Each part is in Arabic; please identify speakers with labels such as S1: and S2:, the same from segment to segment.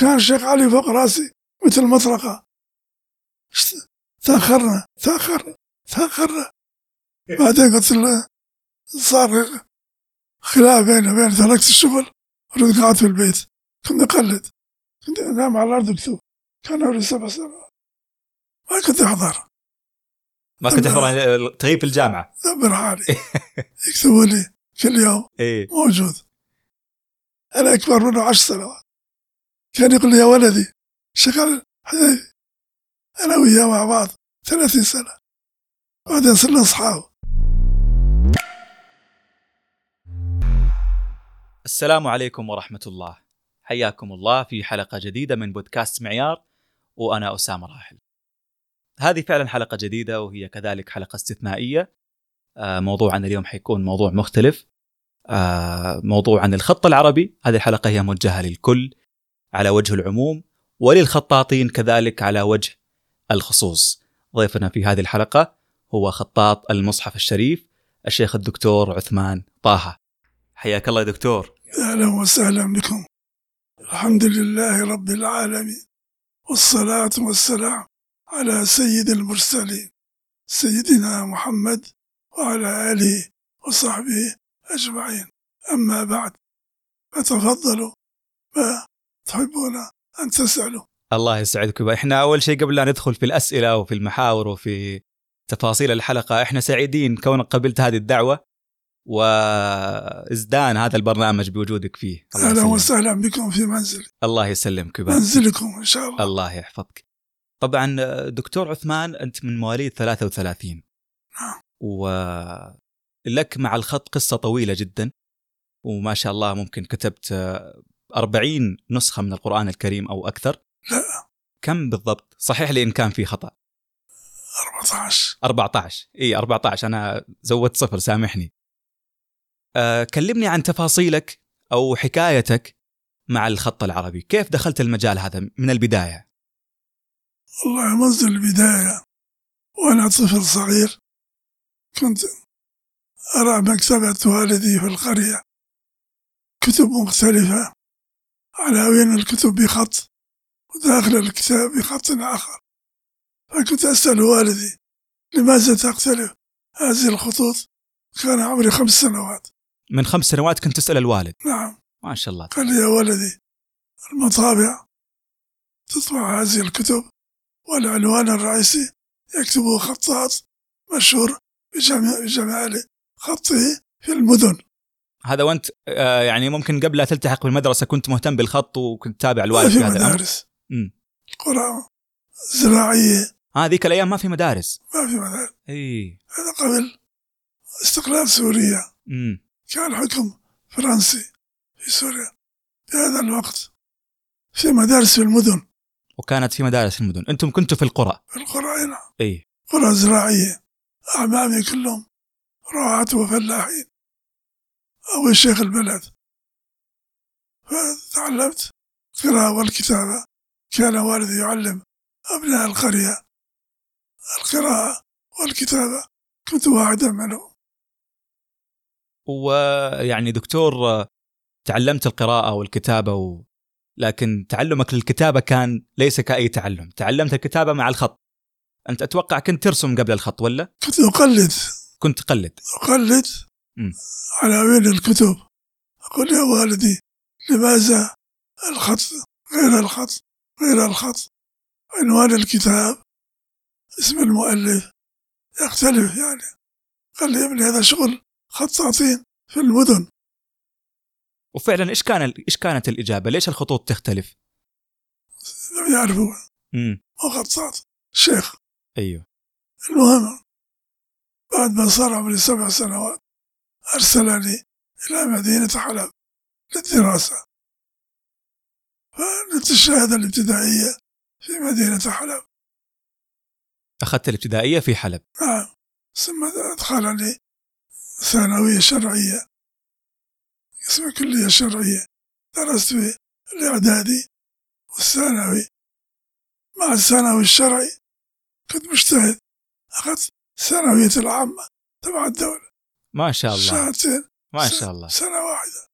S1: كان الشيخ علي فوق راسي مثل مطرقة شت- تأخرنا تأخرنا تأخرنا بعدين قلت له صار خلاف بيني وبين تركت الشغل ورحت قعدت في البيت كنت أقلد كنت أنام على الأرض أكتب كان عمري سبع سنوات ما كنت أحضر
S2: ما كنت تحضر يعني تغيب في الجامعه
S1: دبر حالي يكتبوا لي كل يوم
S2: اي
S1: موجود أنا أكبر منه عشر سنوات كان يقول لي يا ولدي شغل حبيبي أنا وياه مع بعض ثلاثين سنة بعدين صرنا أصحاب
S2: السلام عليكم ورحمه الله حياكم الله في حلقه جديده من بودكاست معيار وانا اسامه راحل هذه فعلا حلقه جديده وهي كذلك حلقه استثنائيه آه، موضوعنا اليوم حيكون موضوع مختلف آه، موضوع عن الخط العربي هذه الحلقه هي موجهه للكل على وجه العموم وللخطاطين كذلك على وجه الخصوص ضيفنا في هذه الحلقه هو خطاط المصحف الشريف الشيخ الدكتور عثمان طه حياك الله يا دكتور
S1: أهلا وسهلا بكم الحمد لله رب العالمين والصلاة والسلام على سيد المرسلين سيدنا محمد وعلى آله وصحبه أجمعين أما بعد فتفضلوا ما تحبون أن تسألوا
S2: الله يسعدكم احنا اول شيء قبل لا ندخل في الاسئله وفي المحاور وفي تفاصيل الحلقه احنا سعيدين كونك قبلت هذه الدعوه وازدان هذا البرنامج بوجودك فيه الله
S1: أهلا
S2: يسلمك
S1: وسهلا بكم في منزل
S2: الله يسلمك يبارك فيك.
S1: منزلكم إن شاء الله
S2: الله يحفظك طبعا دكتور عثمان انت من مواليد 33
S1: نعم.
S2: ولك مع الخط قصه طويله جدا وما شاء الله ممكن كتبت آه، 40 نسخه من القران الكريم او اكثر
S1: لا
S2: كم بالضبط صحيح لي ان كان في خطا
S1: 14
S2: 14 اي 14 انا زودت صفر سامحني أه كلمني عن تفاصيلك او حكايتك مع الخط العربي كيف دخلت المجال هذا من البدايه
S1: والله منذ البداية وأنا طفل صغير كنت أرى مكتبة والدي في القرية كتب مختلفة عناوين الكتب بخط وداخل الكتاب بخط آخر فكنت أسأل والدي لماذا تختلف هذه الخطوط كان عمري خمس سنوات
S2: من خمس سنوات كنت تسال الوالد
S1: نعم
S2: ما شاء الله
S1: قال لي يا ولدي المطابع تطبع هذه الكتب والعنوان الرئيسي يكتبه خطاط مشهور بجمع- بجمال خطه في المدن
S2: هذا وانت آه يعني ممكن قبل لا تلتحق بالمدرسه كنت مهتم بالخط وكنت تابع
S1: ما
S2: الوالد
S1: في
S2: في هذا الامر
S1: مدارس
S2: أمم.
S1: قرى زراعية
S2: هذيك الايام ما في مدارس
S1: ما في مدارس
S2: اي
S1: هذا قبل استقلال سوريا
S2: امم
S1: كان حكم فرنسي في سوريا في هذا الوقت في مدارس في المدن
S2: وكانت في مدارس في المدن انتم كنتوا في القرى
S1: في القرى هنا
S2: اي
S1: قرى زراعية أعمامي كلهم رعاة وفلاحين أو شيخ البلد فتعلمت القراءة والكتابة كان والدي يعلم أبناء القرية القراءة والكتابة كنت واحدا منهم
S2: ويعني دكتور آه، تعلمت القراءة والكتابة و... لكن تعلمك للكتابة كان ليس كأي تعلم تعلمت الكتابة مع الخط أنت أتوقع كنت ترسم قبل الخط ولا
S1: كنت أقلد
S2: كنت تقلد
S1: أقلد
S2: مم.
S1: عناوين الكتب أقول يا والدي لماذا الخط غير الخط غير الخط عنوان الكتاب اسم المؤلف يختلف يعني قال لي يا ابني هذا شغل خطاطين في المدن
S2: وفعلا إيش كان إيش كانت الإجابة ليش الخطوط تختلف
S1: لم يعرفوا
S2: امم
S1: هو خطاط شيخ
S2: أيوه
S1: المهم بعد ما صار عمري سبع سنوات أرسلني إلى مدينة حلب للدراسة فنلت الشهادة الابتدائية في مدينة حلب
S2: أخذت الابتدائية في حلب
S1: نعم ثم أدخلني ثانوية شرعية اسمها كلية شرعية درست في الإعدادي والثانوي مع الثانوي الشرعي كنت مجتهد أخذت ثانوية العامة تبع الدولة
S2: ما شاء الله
S1: ساعتين
S2: ما شاء الله
S1: سنة واحدة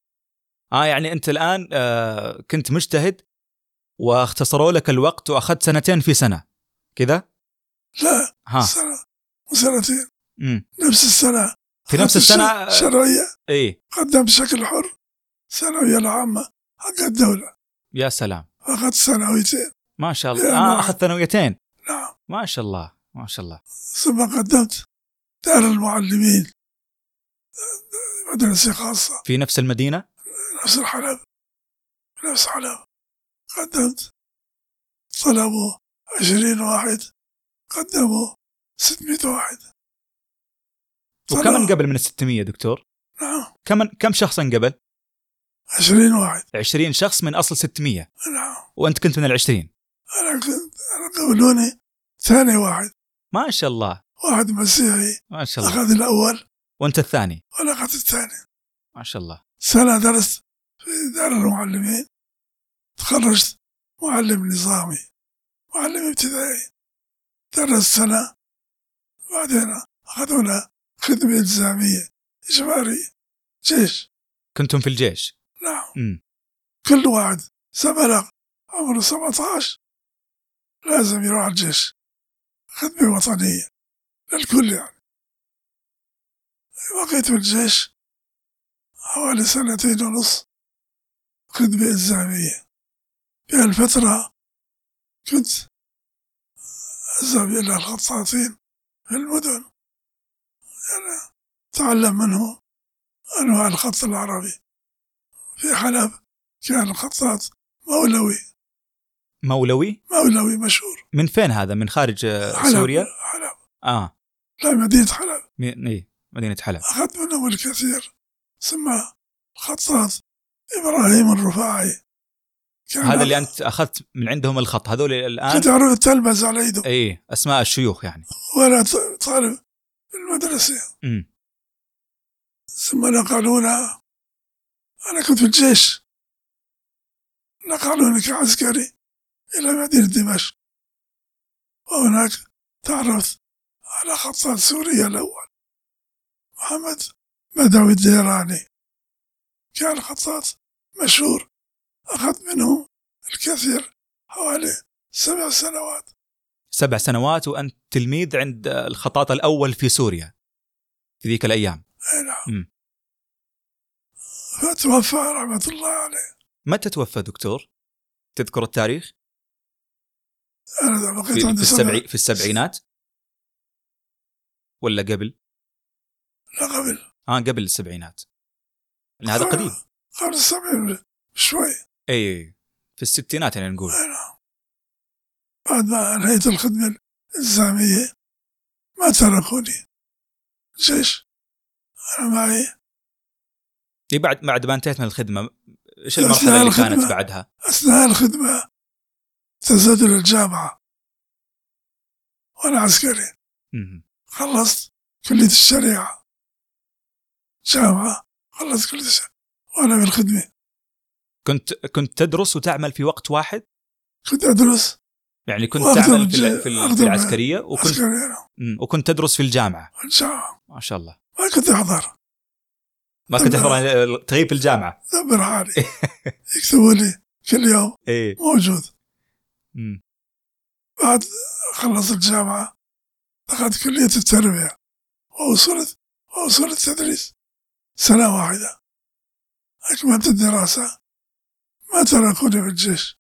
S2: آه يعني أنت الآن آه كنت مجتهد واختصروا لك الوقت واخذت سنتين في سنه كذا
S1: لا
S2: ها
S1: سنة وسنتين
S2: امم
S1: نفس السنة
S2: في نفس إيه. السنه
S1: شرعية
S2: اي
S1: قدم بشكل حر الثانوية العامة حق الدولة
S2: يا سلام
S1: أخذت سنويتين
S2: ما شاء الله
S1: يا
S2: آه
S1: نعم.
S2: اخذ ثانويتين
S1: نعم
S2: ما شاء الله ما شاء الله
S1: ثم قدمت دار المعلمين مدرسة خاصة
S2: في نفس المدينه
S1: نفس الحلب نفس حلب قدمت طلبوا عشرين واحد قدموا 600 واحد
S2: وكم
S1: طلعوا.
S2: انقبل من ال 600 دكتور
S1: نعم
S2: كم كم شخص انقبل
S1: 20 واحد
S2: 20 شخص من اصل 600
S1: نعم
S2: وانت كنت من ال 20
S1: أنا كنت أنا قبلوني ثاني واحد
S2: ما شاء الله
S1: واحد مسيحي
S2: ما شاء الله
S1: أخذ الأول
S2: وانت الثاني
S1: وأنا أخذت الثاني
S2: ما شاء الله
S1: سنة درست في دار المعلمين تخرجت معلم نظامي معلم ابتدائي درست سنة بعدين أخذونا خدمة إلزامية إجبارية جيش
S2: كنتم في الجيش
S1: نعم
S2: امم
S1: كل واحد سبلغ عمره 17 لازم يروح الجيش خدمة وطنية للكل يعني بقيت في الجيش حوالي سنتين ونص خدمة إلزامية في هالفترة كنت أذهب إلى الخطاطين في المدن يعني تعلم منهم أنواع الخط العربي في حلب كان خطاط مولوي
S2: مولوي
S1: مولوي مشهور
S2: من فين هذا من خارج آه،
S1: حلب
S2: سوريا
S1: حلب
S2: اه
S1: لا مدينة حلب
S2: م- إيه، مدينه حلب
S1: أخذت منهم الكثير سمى الخطاط إبراهيم الرفاعي كان
S2: هذا اللي انت اخذت من عندهم الخط هذول الان
S1: كنت أعرف تلبس على يده
S2: اي اسماء الشيوخ يعني
S1: وأنا ط- طالب في المدرسة
S2: امم
S1: ثم نقلونا أنا كنت في الجيش نقلوني كعسكري إلى مدينة دمشق وهناك تعرفت على خطاط سوريا الأول محمد بدوي الديراني كان خطاط مشهور أخذت منه الكثير حوالي سبع سنوات
S2: سبع سنوات وانت تلميذ عند آه، الخطاط الاول في سوريا في ذيك الايام
S1: أي
S2: مم.
S1: نعم فتوفى رحمة الله عليه
S2: متى توفى دكتور؟ تذكر التاريخ؟
S1: أنا
S2: في,
S1: بقيت
S2: في,
S1: عندي سنة
S2: السبعي في السبعينات؟ ولا قبل؟
S1: لا قبل
S2: اه قبل السبعينات لأن هذا قديم
S1: آه. قبل السبعين شوي
S2: اي في الستينات يعني نقول
S1: بعد ما انهيت الخدمة الإلزامية ما تركوني الجيش أنا معي
S2: إيه بعد بعد ما انتهيت من الخدمه ايش
S1: أثناء
S2: المرحله اللي كانت
S1: الخدمة.
S2: بعدها؟
S1: أثناء الخدمة تزادل الجامعة وأنا عسكري
S2: مم.
S1: خلصت كلية الشريعة جامعة خلصت كلية الشريعة وأنا في الخدمة
S2: كنت كنت تدرس وتعمل في وقت واحد؟
S1: كنت أدرس
S2: يعني كنت
S1: وأخدم
S2: تعمل في,
S1: الج-
S2: ال- في, ال- في
S1: أخدم
S2: العسكرية وكنت
S1: عسكري أنا
S2: مم. وكنت تدرس في الجامعة
S1: الجامعة
S2: ما شاء الله
S1: ما كنت أحضر
S2: ما كنت أحضر تغيب في الجامعة
S1: دبر حالي يكتبوا لي كل يوم
S2: إيه
S1: موجود
S2: مم.
S1: بعد خلصت الجامعة دخلت كلية التربية ووصلت ووصلت تدريس سنة واحدة أكملت الدراسة ما تركوني في الجيش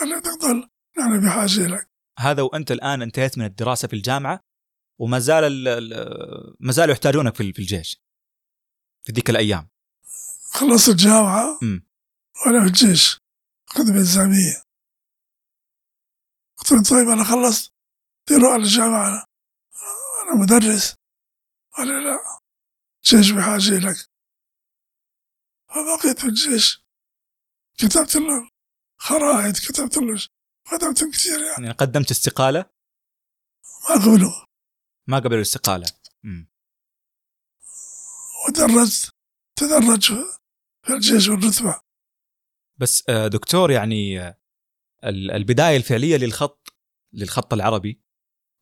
S1: قال لي تفضل نحن بحاجة لك
S2: هذا وأنت الآن انتهيت من الدراسة في الجامعة وما زال ال- ال- ما زالوا يحتاجونك في ال- في الجيش في ذيك الأيام
S1: خلصت الجامعة
S2: مم.
S1: وأنا في الجيش خدمة إلزامية قلت لهم طيب أنا خلصت ديروا على الجامعة أنا, أنا مدرس قال لي لا الجيش بحاجة لك فبقيت في الجيش كتبت لهم خرائط كتبت لهم كتبت كثير يعني
S2: يعني قدمت استقالة
S1: ما قبلوا
S2: ما قبلوا الاستقالة مم.
S1: ودرجت تدرج في الجيش والرتبة
S2: بس آه، دكتور يعني آه، ال- البداية الفعلية للخط للخط العربي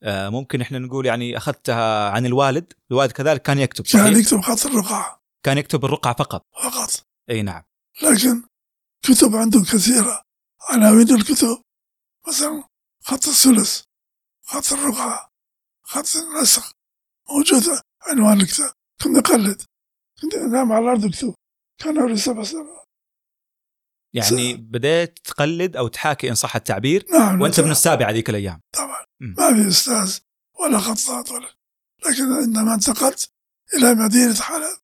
S2: آه، ممكن احنا نقول يعني اخذتها عن الوالد، الوالد كذلك كان يكتب
S1: كان
S2: صحيح؟
S1: يكتب خط الرقعة
S2: كان يكتب الرقعة فقط
S1: فقط
S2: اي نعم
S1: لكن كتب عنده كثيرة عناوين الكتب مثلا خط الثلث خط الرقعة خط النسق موجودة عنوان الكتاب كنت أقلد كنت أنام على الأرض أكتب كان عمري سبع سنوات
S2: يعني بديت تقلد او تحاكي ان صح التعبير
S1: نعم
S2: وانت
S1: نعم.
S2: ابن السابع هذيك الايام
S1: طبعا
S2: مم.
S1: ما في استاذ ولا خطاط ولا لكن عندما انتقلت الى مدينه حلب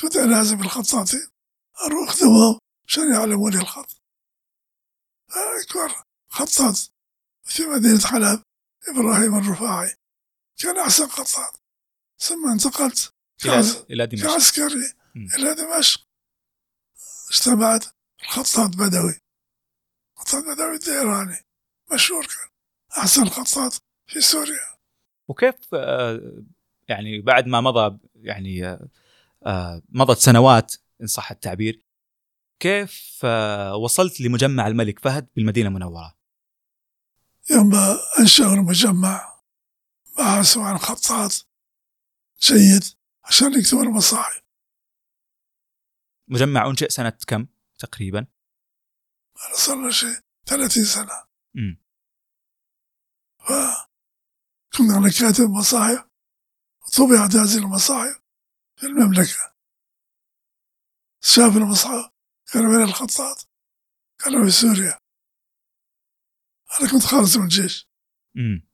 S1: كنت الازم الخطاطين اروح اخدمهم عشان يعلموني الخط اكبر خطاط في مدينه حلب ابراهيم الرفاعي كان احسن خطاط ثم انتقلت
S2: الى
S1: كعس-
S2: الى دمشق
S1: كعسكري
S2: مم.
S1: الى دمشق اجتمعت الخطاط بدوي خطاط بدوي الديراني مشهور كان احسن خطاط في سوريا
S2: وكيف آه، يعني بعد ما مضى يعني آه، آه، مضت سنوات ان صح التعبير كيف آه، وصلت لمجمع الملك فهد بالمدينه المنوره؟
S1: يوم أنشأوا المجمع بحثوا عن خطاط جيد عشان يكتبوا المصاحف
S2: مجمع انشئ سنه كم تقريبا؟
S1: أنا صار لي شيء 30 سنة
S2: مم.
S1: ف كنت أنا كاتب مصاحف وطبعت هذه المصاحف في المملكة شاف المصحف قال وين الخطاط؟ قالوا في سوريا أنا كنت خالص من الجيش
S2: مم.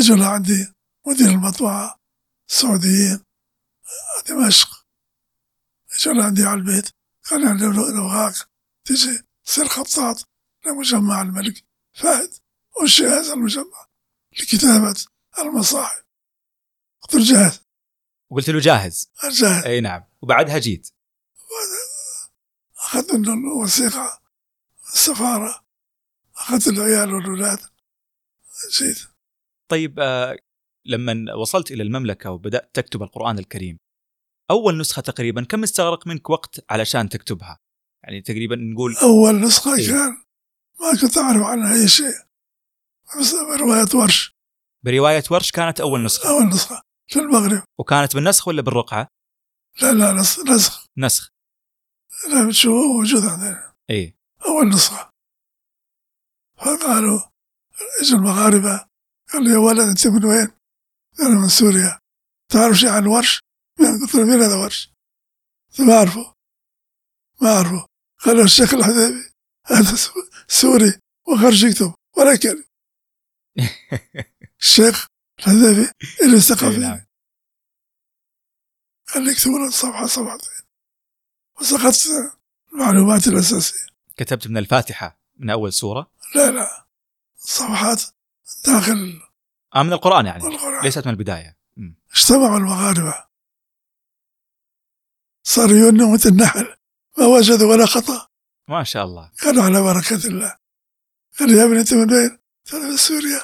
S1: اجوا لعندي مدير المطبعة سعوديين دمشق اجوا لعندي على البيت قال لي لو لو- نبغاك تجي تصير خطاط لمجمع الملك فهد وانشئ هذا المجمع لكتابة المصاحف قلت له جاهز
S2: وقلت له جاهز
S1: أنا جاهز
S2: اي نعم وبعدها جيت
S1: أخذت منه الوثيقة السفارة أخذت العيال والولاد جيت
S2: طيب آه، لما وصلت الى المملكه وبدات تكتب القران الكريم اول نسخه تقريبا كم استغرق منك وقت علشان تكتبها؟ يعني تقريبا نقول
S1: أول نسخة
S2: إيه.
S1: كان ما كنت أعرف عنها أي شيء بس رواية ورش
S2: بروايه ورش كانت اول نسخه
S1: أول نسخة في المغرب
S2: وكانت بالنسخ ولا بالرقعه؟
S1: لا لا نس- نسخ
S2: نسخ إيه.
S1: لا بتشوفوه موجود عندنا
S2: اي
S1: أول نسخة فقالوا إجوا المغاربة قالوا يا ولد أنت من وين؟ أنا من سوريا تعرف شيء عن ورش؟ من- قلت له مين هذا ورش؟ قلت له ما أعرفه ما أعرفه قالوا الشيخ الحديبي هذا سو- سوري وخرج يكتب ولا كلمة الشيخ الحديبي اللي
S2: إي
S1: ثقافي
S2: نعم
S1: قال لي اكتبوا لنا صفحة صفحتين وسقطت المعلومات الأساسية
S2: كتبت من الفاتحه من اول سوره
S1: لا لا صفحات داخل
S2: آه من القران يعني
S1: القرآن
S2: ليست من البدايه مم.
S1: اجتمعوا المغاربة صاروا ينوا مثل النحل ما وجدوا ولا خطأ
S2: ما شاء الله
S1: كانوا على بركة الله قال يا ابني أنت من وين؟ قال من سوريا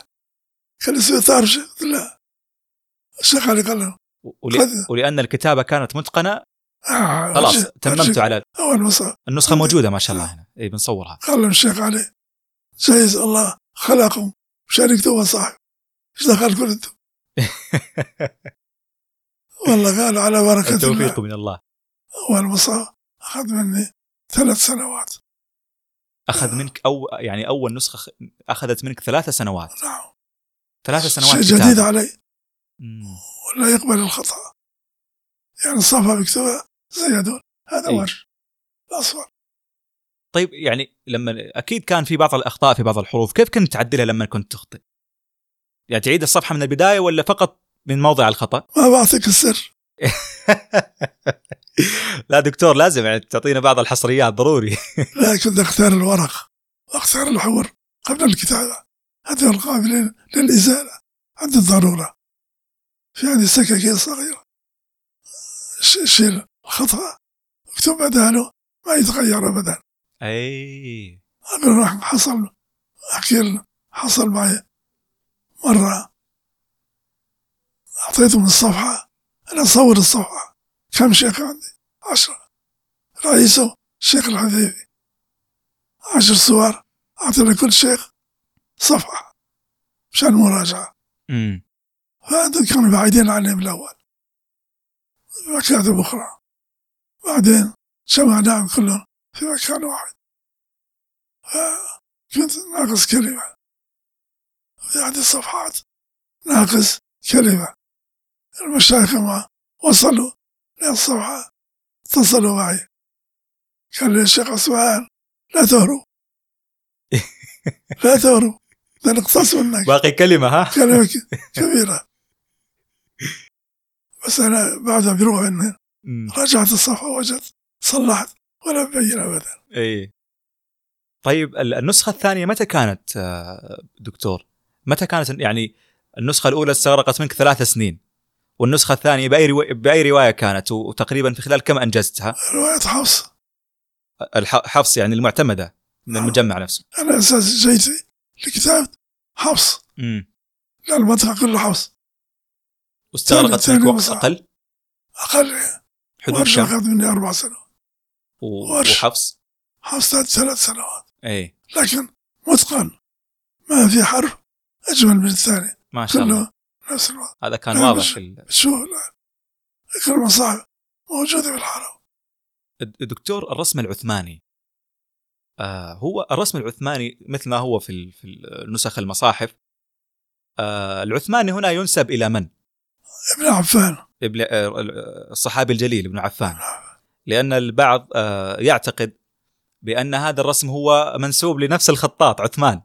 S1: قال سوريا تعرف شيء؟ قلت لا الشيخ علي قال له
S2: و- ول- ولان الكتابه كانت متقنه
S1: آه،
S2: خلاص
S1: أرجع-
S2: تممت
S1: أرجع.
S2: على
S1: أول مصر
S2: النسخه موجوده ما شاء الله هنا اي بنصورها
S1: قال لهم الشيخ علي جايز الله خلقهم مشان يكتبوا صاحب ايش دخلكم انتم؟ والله قال على بركة الله
S2: التوفيق من الله
S1: أول مصاب أخذ مني ثلاث سنوات
S2: اخذ منك او يعني اول نسخه خ- اخذت منك ثلاثة سنوات
S1: نعم
S2: ثلاثة
S1: شيء
S2: سنوات
S1: جديد
S2: كتابة.
S1: علي
S2: مم.
S1: ولا يقبل الخطأ يعني الصفحة مكتوبة زي هذول هذا
S2: أي.
S1: ورش الأصفر
S2: طيب يعني لما اكيد كان في بعض الاخطاء في بعض الحروف كيف كنت تعدلها لما كنت تخطئ يعني تعيد الصفحه من البدايه ولا فقط من موضع الخطا
S1: ما بعطيك السر
S2: لا دكتور لازم يعني تعطينا بعض الحصريات ضروري
S1: لا كنت أختار الورق وأختار الحور قبل الكتابة هذول القابلين للإزالة عند الضرورة في عندي سكاكين صغيرة ش- شيل الخطأ اكتب بعدها له ما يتغير أبدا
S2: اي
S1: أنا راح حصل أحكي له، حصل معي مرة أعطيته من الصفحة أنا أصور الصفحة كم شيخ عندي عشرة رئيسه الشيخ الحبيبي عشر صور أعطي لكل شيخ صفحة مشان المراجعة
S2: امم
S1: فهذول كانوا بعيدين عني من الأول في مكاتب أخرى بعدين جمعناهم كلهم في مكان واحد آه، كنت ناقص كلمة يعني صفحات ناقص كلمة المشايخ ما وصلوا للصفحة اتصلوا معي قال لي الشيخ عثمان لا تهرب لا تهرب ده نقتص منك
S2: باقي كلمه ها
S1: كلمة ك- كبيرة بس أنا بعد ما بيروح إن
S2: مم.
S1: رجعت الصفحة وجدت صلحت ولا مبين أبدا
S2: اي إيه. طيب ال- النسخه الثانيه متى كانت آه، دكتور متى كانت يعني النسخه الاولى استغرقت منك ثلاث سنين والنسخه الثانيه باي روا... باي روايه كانت و- وتقريبا في خلال كم انجزتها
S1: رواية حفص
S2: الح- حفص يعني المعتمده من
S1: نعم.
S2: المجمع نفسه
S1: أنا أساس جيتي لكتاب حفص
S2: امم
S1: لا المنطقة كله حفص
S2: واستغرقت
S1: ثاني-
S2: منك
S1: ثاني
S2: وقت
S1: وصع.
S2: اقل
S1: أقل
S2: حدود
S1: ورشة
S2: شهر
S1: أخذ مني أربع سنوات
S2: و...
S1: ورشة.
S2: وحفص إيه.
S1: حفص ثلاث ثلاث سنوات
S2: اي
S1: لكن متقن ما في حرف أجمل من الثاني
S2: ما شاء الله
S1: كله نفس الوقت
S2: هذا كان
S1: لا،
S2: واضح
S1: مش-
S2: في ال-
S1: شوف لا، الكلمة صعبة موجودة في الحرم
S2: الدكتور الرسم العثماني آه هو الرسم العثماني مثل ما هو في ال- في النسخ المصاحف آه العثماني هنا ينسب الى من؟
S1: ابن عفان
S2: ابن آه، الصحابي الجليل ابن عفان لان البعض آه يعتقد بان هذا الرسم هو منسوب لنفس الخطاط عثمان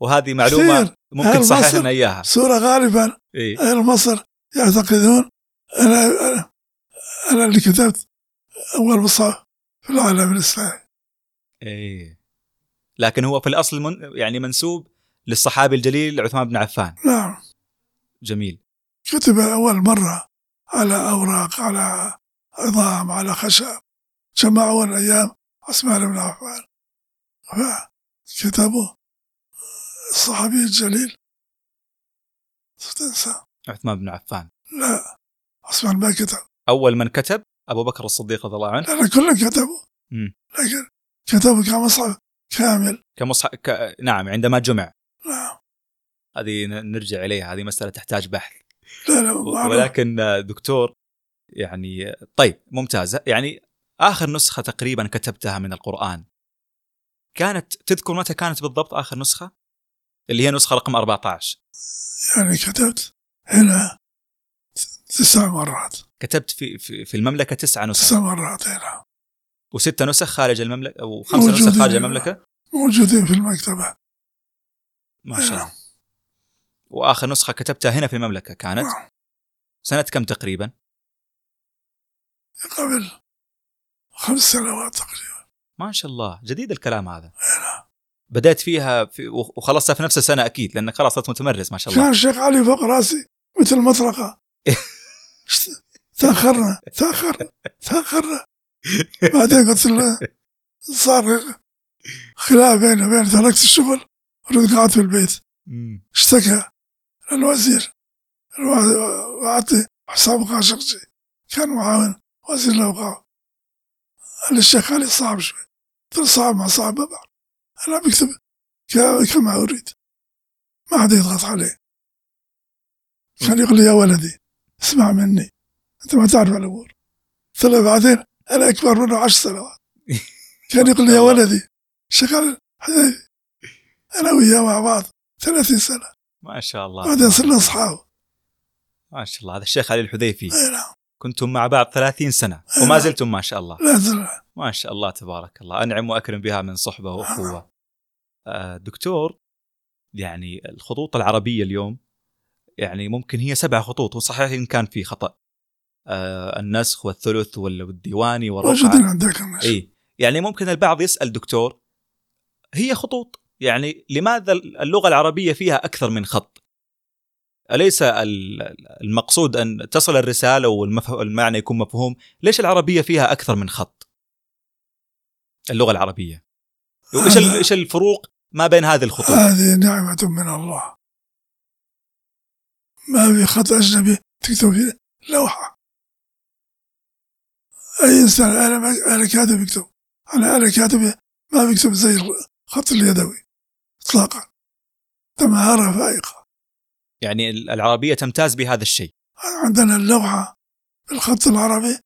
S2: وهذه معلومه
S1: كثير.
S2: ممكن
S1: أهل
S2: تصحح
S1: مصر.
S2: لنا اياها
S1: صورة غالبا
S2: إيه؟
S1: أهل مصر يعتقدون أنا أنا, أنا اللي كتبت أول مصحف في العالم الإسلامي
S2: إيه. لكن هو في الاصل من يعني منسوب للصحابي الجليل عثمان بن عفان
S1: نعم
S2: جميل
S1: كتب أول مرة على أوراق على عظام على خشب جمعون أيام عثمان بن عفان فكتبوا الصحابي الجليل تنسى
S2: عثمان بن عفان
S1: لا عثمان ما كتب
S2: اول من كتب ابو بكر الصديق رضي الله عنه
S1: لأن كلهم كتبوا
S2: مم.
S1: لكن كتبوا كمصحف كامل
S2: كمصح... ك... نعم عندما جمع
S1: نعم
S2: هذه ن- نرجع اليها هذه مساله تحتاج بحث
S1: لا لا
S2: و-
S1: معروف
S2: ولكن آه، دكتور يعني آه، طيب ممتازه يعني اخر نسخه تقريبا كتبتها من القران كانت تذكر متى كانت بالضبط اخر نسخه اللي هي نسخه رقم 14
S1: يعني كتبت هنا تسع مرات
S2: كتبت في في, في المملكه تسعة نسخ
S1: تسع مرات هنا
S2: وستة نسخ خارج المملكه وخمسة
S1: موجودين.
S2: نسخ خارج المملكه
S1: موجودين في المكتبة
S2: ما شاء الله واخر نسخه كتبتها هنا في المملكه كانت
S1: نعم.
S2: سنه كم تقريبا
S1: قبل خمس سنوات تقريبا
S2: ما شاء الله جديد الكلام هذا بدأت فيها في وخلصتها في نفس السنة أكيد لأنك خلاص صرت متمرس ما شاء الله
S1: كان الشيخ علي فوق راسي مثل مطرقة شت- تأخرنا تأخرنا تأخرنا بعدين قلت له صار خلاف بيني وبين تركت الشغل ورحت قعدت في البيت
S2: مم.
S1: اشتكى للوزير الوا- وأعطي حسام خاشقجي كان معاون وزير الأوقاف قال لي الشيخ علي صعب شوي قلت له صعب ما صعب ما بعرف أنا بكتب ك- كما أريد ما حد يضغط عليه كان يقول لي يا ولدي اسمع مني أنت ما تعرف الأمور قلت له بعدين أنا أكبر منه عشر سنوات كان يقول لي يا ولدي الشيخ علي حبيبي أنا وياه مع بعض ثلاثين سنة
S2: ما شاء الله
S1: بعدين صرنا اصحاب
S2: ما شاء الله هذا الشيخ علي الحذيفي
S1: اي نعم
S2: كنتم مع بعض 30 سنة وما زلتم ما شاء الله
S1: لا زلنا
S2: ما شاء الله تبارك الله أنعم وأكرم بها من صحبة وأخوة آه، دكتور يعني الخطوط العربية اليوم يعني ممكن هي سبع خطوط وصحيح إن كان في خطأ آه، النسخ والثلث وال- والديواني والرقعة
S1: موجودين عندك الناس.
S2: اي يعني ممكن البعض يسال دكتور هي خطوط يعني لماذا اللغه العربيه فيها اكثر من خط؟ اليس ال- المقصود ان تصل الرساله والمعنى يكون مفهوم، ليش العربيه فيها اكثر من خط؟ اللغه العربيه وايش ال- ايش الفروق ما بين هذه الخطوط؟
S1: هذه نعمة من الله ما في خط أجنبي تكتب فيه لوحة أي إنسان أنا ما- أنا كاتب يكتب أنا أنا كاتب ما بيكتب زي الخط اليدوي إطلاقا ده مهارة فائقة
S2: يعني ال- العربيه تمتاز بهذا الشيء.
S1: عندنا اللوحة بالخط العربي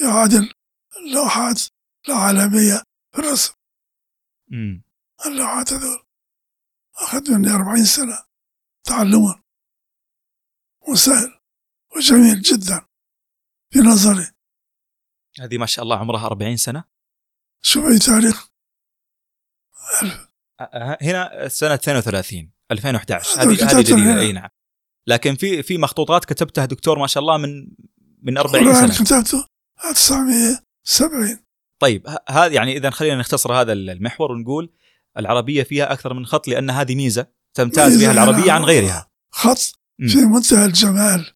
S1: يعادل اللوحات العالمية في الرسم
S2: امم
S1: اللوحات هذول أخذ مني أربعين سنة تعلما وسهل وجميل جدا في نظري
S2: هذه ما شاء الله عمرها 40 سنه
S1: شوف أي تاريخ
S2: أه، هنا سنه 32 2011
S1: هذا
S2: هذه
S1: كتبت
S2: هذه جديده
S1: هنا.
S2: اي نعم لكن في في مخطوطات كتبتها دكتور ما شاء الله من من 40
S1: القرآن
S2: سنه
S1: كتبته 1970
S2: طيب ه- هذا يعني اذا خلينا نختصر هذا المحور ونقول العربيه فيها اكثر من خط لان هذه ميزه تمتاز
S1: ميزة
S2: بها العربيه عن غيرها
S1: خط
S2: مم.
S1: في منتهى الجمال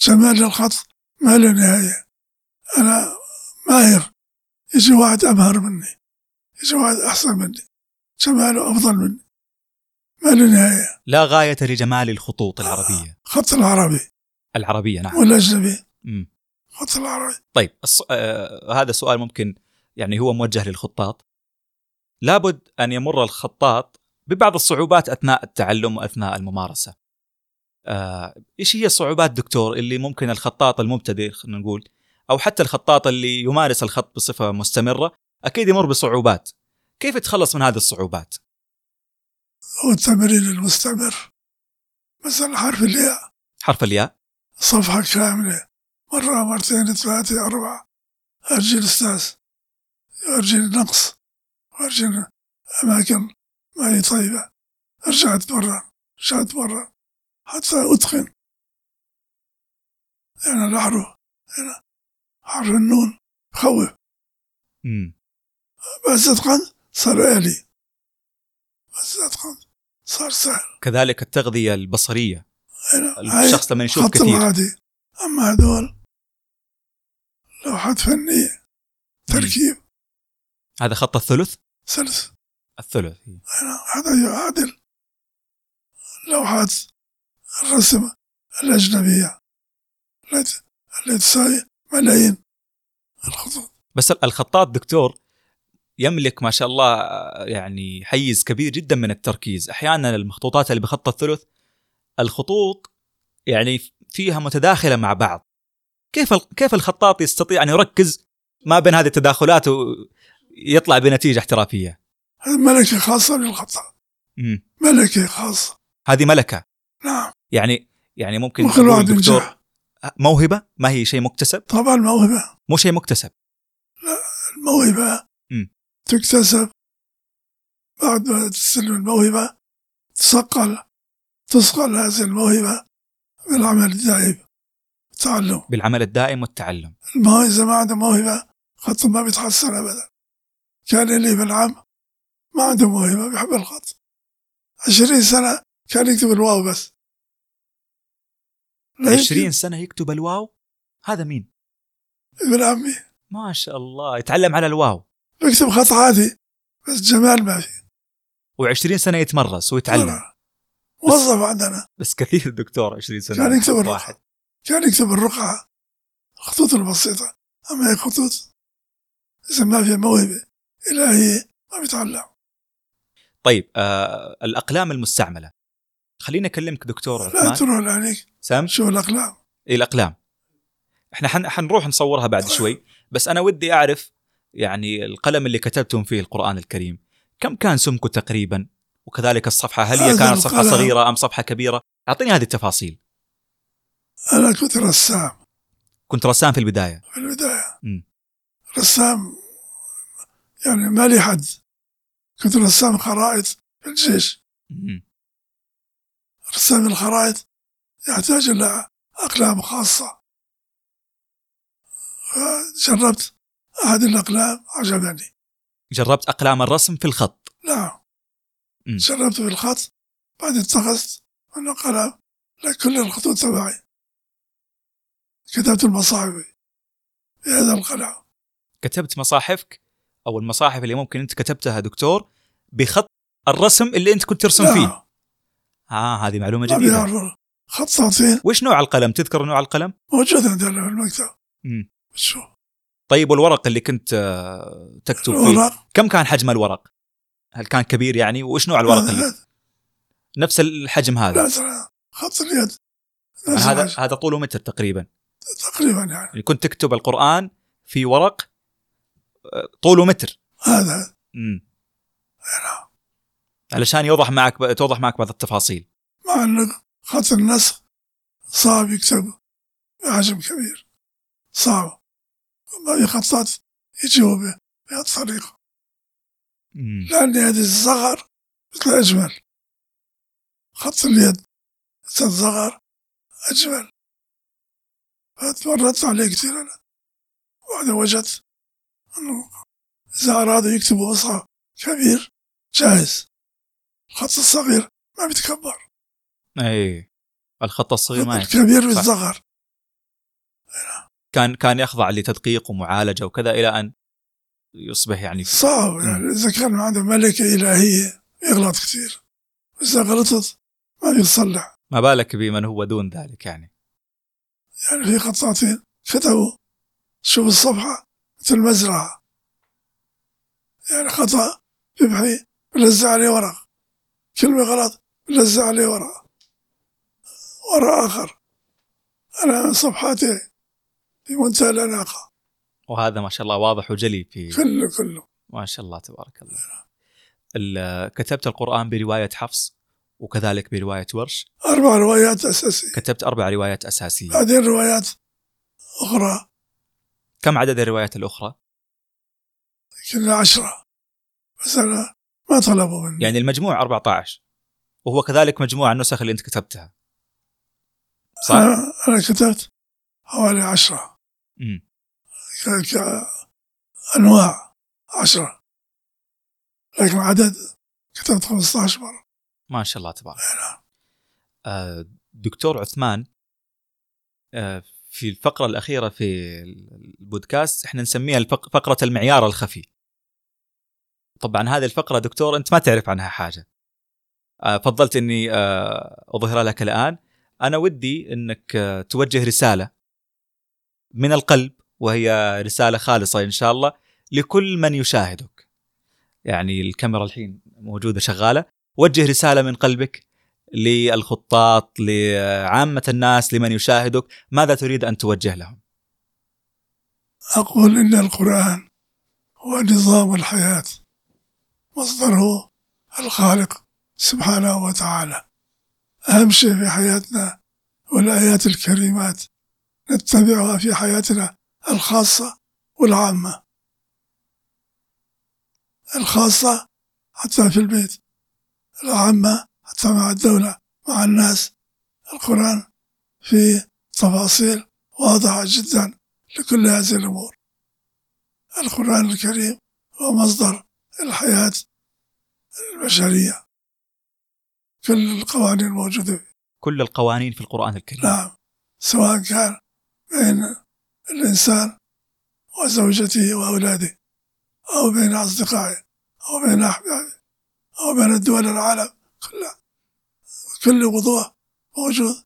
S1: جمال الخط ما له نهاية أنا ماهر يجي واحد أمهر مني يجي واحد أحسن مني جماله أفضل مني ما له نهاية
S2: لا غايه لجمال الخطوط العربيه
S1: خط العربي
S2: العربيه
S1: آه.
S2: نعم
S1: والأجنبي
S2: مم.
S1: خط العربي
S2: طيب الص... آه... هذا سؤال ممكن يعني هو موجه للخطاط لابد ان يمر الخطاط ببعض الصعوبات اثناء التعلم واثناء الممارسه. آه... ايش هي الصعوبات دكتور اللي ممكن الخطاط المبتدئ خلينا نقول او حتى الخطاط اللي يمارس الخط بصفه مستمره اكيد يمر بصعوبات. كيف يتخلص من هذه الصعوبات؟
S1: هو التمرين المستمر مثلا حرف الياء
S2: حرف الياء
S1: صفحة كاملة مرة مرتين ثلاثة أربعة أرجي الأستاذ أرجي النقص وأرجي أماكن ما هي طيبة أرجع أتمرن أرجع أتمرن حتى أتقن لأن الأحرف أنا حرف النون خوف
S2: مم.
S1: بس أتقن صار آلي بس أتقن صار سهل
S2: كذلك التغذيه البصريه
S1: أنا هاي-
S2: الشخص لما يشوف
S1: خط
S2: يعني كثير
S1: العادي أما هذول لوحات فنية تركيب
S2: هذا خط الثلث
S1: سلس
S2: الثلث إيه.
S1: أنا هذا يعادل لوحات الرسم الأجنبية التي التي تساوي ملايين الخطوط
S2: بس الخطاط دكتور يملك ما شاء الله آه، يعني حيز كبير جدا من التركيز احيانا المخطوطات اللي بخط الثلث الخطوط يعني فيها متداخله مع بعض كيف ال- كيف الخطاط يستطيع ان يركز ما بين هذه التداخلات ويطلع بنتيجه احترافيه
S1: هذه ملكة خاصة بالخطأ
S2: مم.
S1: ملكة خاصة
S2: هذه ملكه
S1: نعم
S2: يعني يعني ممكن
S1: ممكن
S2: نقول
S1: الواحد
S2: دكتور
S1: ينجح
S2: موهبه ما هي شيء مكتسب
S1: طبعا موهبة
S2: مو شيء مكتسب
S1: الموهبة
S2: مم.
S1: تكتسب بعد ما تستلم الموهبة تصقل تصقل هذه الموهبة بالعمل الدائم التعلم
S2: بالعمل الدائم والتعلم
S1: الموهبة إذا ما عنده موهبة خط ما بيتحسن أبدا كان لي بالعام ما عنده موهبة بيحب الخط عشرين سنة كان يكتب الواو بس لا
S2: 20
S1: يكتب.
S2: سنه يكتب الواو هذا مين
S1: ابن عمي
S2: ما شاء الله يتعلم على الواو
S1: بيكتب خط عادي بس جمال ما في
S2: و20 سنه يتمرس ويتعلم
S1: مرة. موظف عندنا
S2: بس كثير دكتور 20 سنه
S1: كان يكتب
S2: واحد
S1: الرقعة كان يكتب الرقعة الخطوط البسيطة أما هي خطوط إذا ما في موهبة إلهية ما بيتعلم
S2: طيب آه الاقلام المستعمله خليني اكلمك دكتور
S1: لا
S2: عثمان
S1: تروح لعينيك
S2: سام
S1: شوف الأقلام
S2: إيه الاقلام احنا حن حنروح نصورها بعد شوي بس انا ودي اعرف يعني القلم اللي كتبتم فيه القران الكريم كم كان سمكه تقريبا وكذلك الصفحه هل هي
S1: هذا
S2: كانت صفحه
S1: القلم.
S2: صغيره ام صفحه كبيره اعطيني هذه التفاصيل
S1: أنا كنت رسام
S2: كنت رسام في البدايه
S1: في البداية
S2: مم.
S1: رسام يعني ما لي حد كنت رسام خرائط في الجيش
S2: مم.
S1: رسام الخرائط يحتاج إلى أقلام خاصة جربت أحد الأقلام عجبني
S2: جربت اقلام الرسم في الخط
S1: نعم
S2: مم.
S1: جربت في الخط بعد اتخذت من قلم لكل الخطوط تبعي كتبت المصاحف بهذا القلم
S2: كتبت مصاحفك او المصاحف اللي ممكن انت كتبتها دكتور بخط الرسم اللي انت كنت ترسم فيه
S1: نعم،
S2: اه هذه معلومه
S1: ما
S2: جديده
S1: بيعرفوا خطاطين
S2: وش نوع القلم تذكر نوع القلم
S1: موجود عندنا في المكتب
S2: مم.
S1: شو
S2: طيب والورق اللي كنت آه، تكتب فيه
S1: الورق
S2: كم كان حجم الورق هل كان كبير يعني وش نوع الورق
S1: لا
S2: اللي نفس الحجم هذا
S1: لا ترى خط اليد
S2: يعني
S1: نفس
S2: هذا
S1: الحجم
S2: هذا طوله متر تقريبا
S1: تقريبا يعني
S2: يعني كنت تكتب القران في ورق آه، طوله متر
S1: هذا
S2: مم. علشان يوضح معك توضح معك بعض التفاصيل
S1: مع أن خط النسخ صعب يكتب بحجم كبير صعب باقي خطات يجيبوا به- بهذه الطريقة
S2: مم.
S1: لأن يد الصغر مثل أجمل خط اليد مثل الصغر أجمل فتمرنت عليه كثير أنا وبعدين وجدت أنه إذا أرادوا يكتبوا أصحى كبير جاهز الخط الصغير ما بيتكبر
S2: اي إيه. الخط الصغير ما يكفي.
S1: الكبير
S2: طيب، صح.
S1: بالصغر
S2: كان كان يخضع لتدقيق ومعالجه وكذا الى ان يصبح يعني
S1: صعب يعني إذا كان عنده ملكة إلهية يغلط كثير إذا غلطت ما بيصلح
S2: ما بالك بمن هو دون ذلك يعني
S1: يعني في خطاطين كتبوا شوف الصفحة مثل المزرعة يعني خطأ يبحي بلزع عليه ورق كلمة غلط بلزع عليه ورق ورق آخر أنا صفحاتي في منتهى الأناقة
S2: وهذا ما شاء الله واضح وجلي في
S1: كله كله
S2: ما شاء الله تبارك الله ال- كتبت القران بروايه حفص وكذلك بروايه ورش
S1: أربع روايات أساسية
S2: كتبت اربع روايات اساسيه
S1: بعدين روايات أخرى
S2: كم عدد الروايات الاخرى
S1: كنا عشرة بس أنا ما طلبوا مني
S2: يعني المجموع 14 وهو كذلك مجموع النسخ اللي انت كتبتها صح
S1: أنا, أنا كتبت حوالي عشرة
S2: مم.
S1: ك- كأنواع عشرة لكن عدد كتبت 15 مرة
S2: ما شاء الله تبارك آه، دكتور عثمان آه، في الفقره الاخيره في البودكاست احنا نسميها الفق- فقره المعيار الخفي طبعا هذه الفقره دكتور انت ما تعرف عنها حاجه آه، فضلت اني آه، اظهرها لك الان انا ودي انك آه، توجه رساله من القلب وهي رساله خالصه ان شاء الله لكل من يشاهدك يعني الكاميرا الحين موجوده شغاله وجه رساله من قلبك للخطاط لعامه الناس لمن يشاهدك ماذا تريد ان توجه لهم
S1: أقول إن القرآن هو نظام الحياة مصدره الخالق سبحانه وتعالى أهم شيء في حياتنا هو الآيات الكريمات نتبعها في حياتنا الخاصة والعامة الخاصة حتى في البيت العامة حتى مع الدولة مع الناس القرآن فيه تفاصيل واضحة جدا لكل هذه الأمور القرآن الكريم هو مصدر الحياة البشرية كل القوانين الموجودة فيه.
S2: كل القوانين في القران الكريم
S1: نعم سواء كان بين الإنسان وزوجته وأولاده أو بين أصدقائه أو بين أحبابه أو بين دول العالم كلها بكل وضوح موجود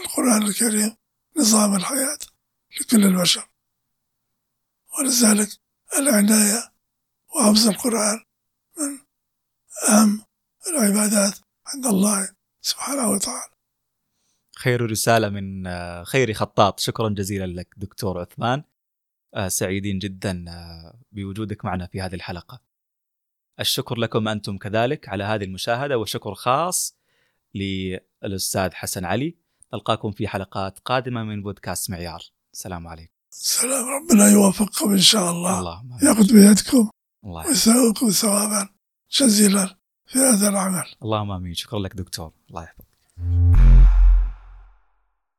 S1: القرآن الكريم نظام الحياة لكل البشر ولذلك العناية وحفظ القرآن من أهم العبادات عند الله سبحانه وتعالى
S2: خير رساله من آه، خير خطاط شكرا جزيلا لك دكتور عثمان آه، سعيدين جدا آه، بوجودك معنا في هذه الحلقه الشكر لكم انتم كذلك على هذه المشاهده وشكر خاص للاستاذ حسن علي نلقاكم في حلقات قادمه من بودكاست معيار السلام عليكم
S1: سلام ربنا يوفقكم إن شاء الله
S2: اللهم آمين.
S1: يأخذ بيدكم
S2: الله
S1: ويساويكم ثوابا جزيلا في هذا العمل
S2: اللهم امين شكرا لك دكتور الله يحفظك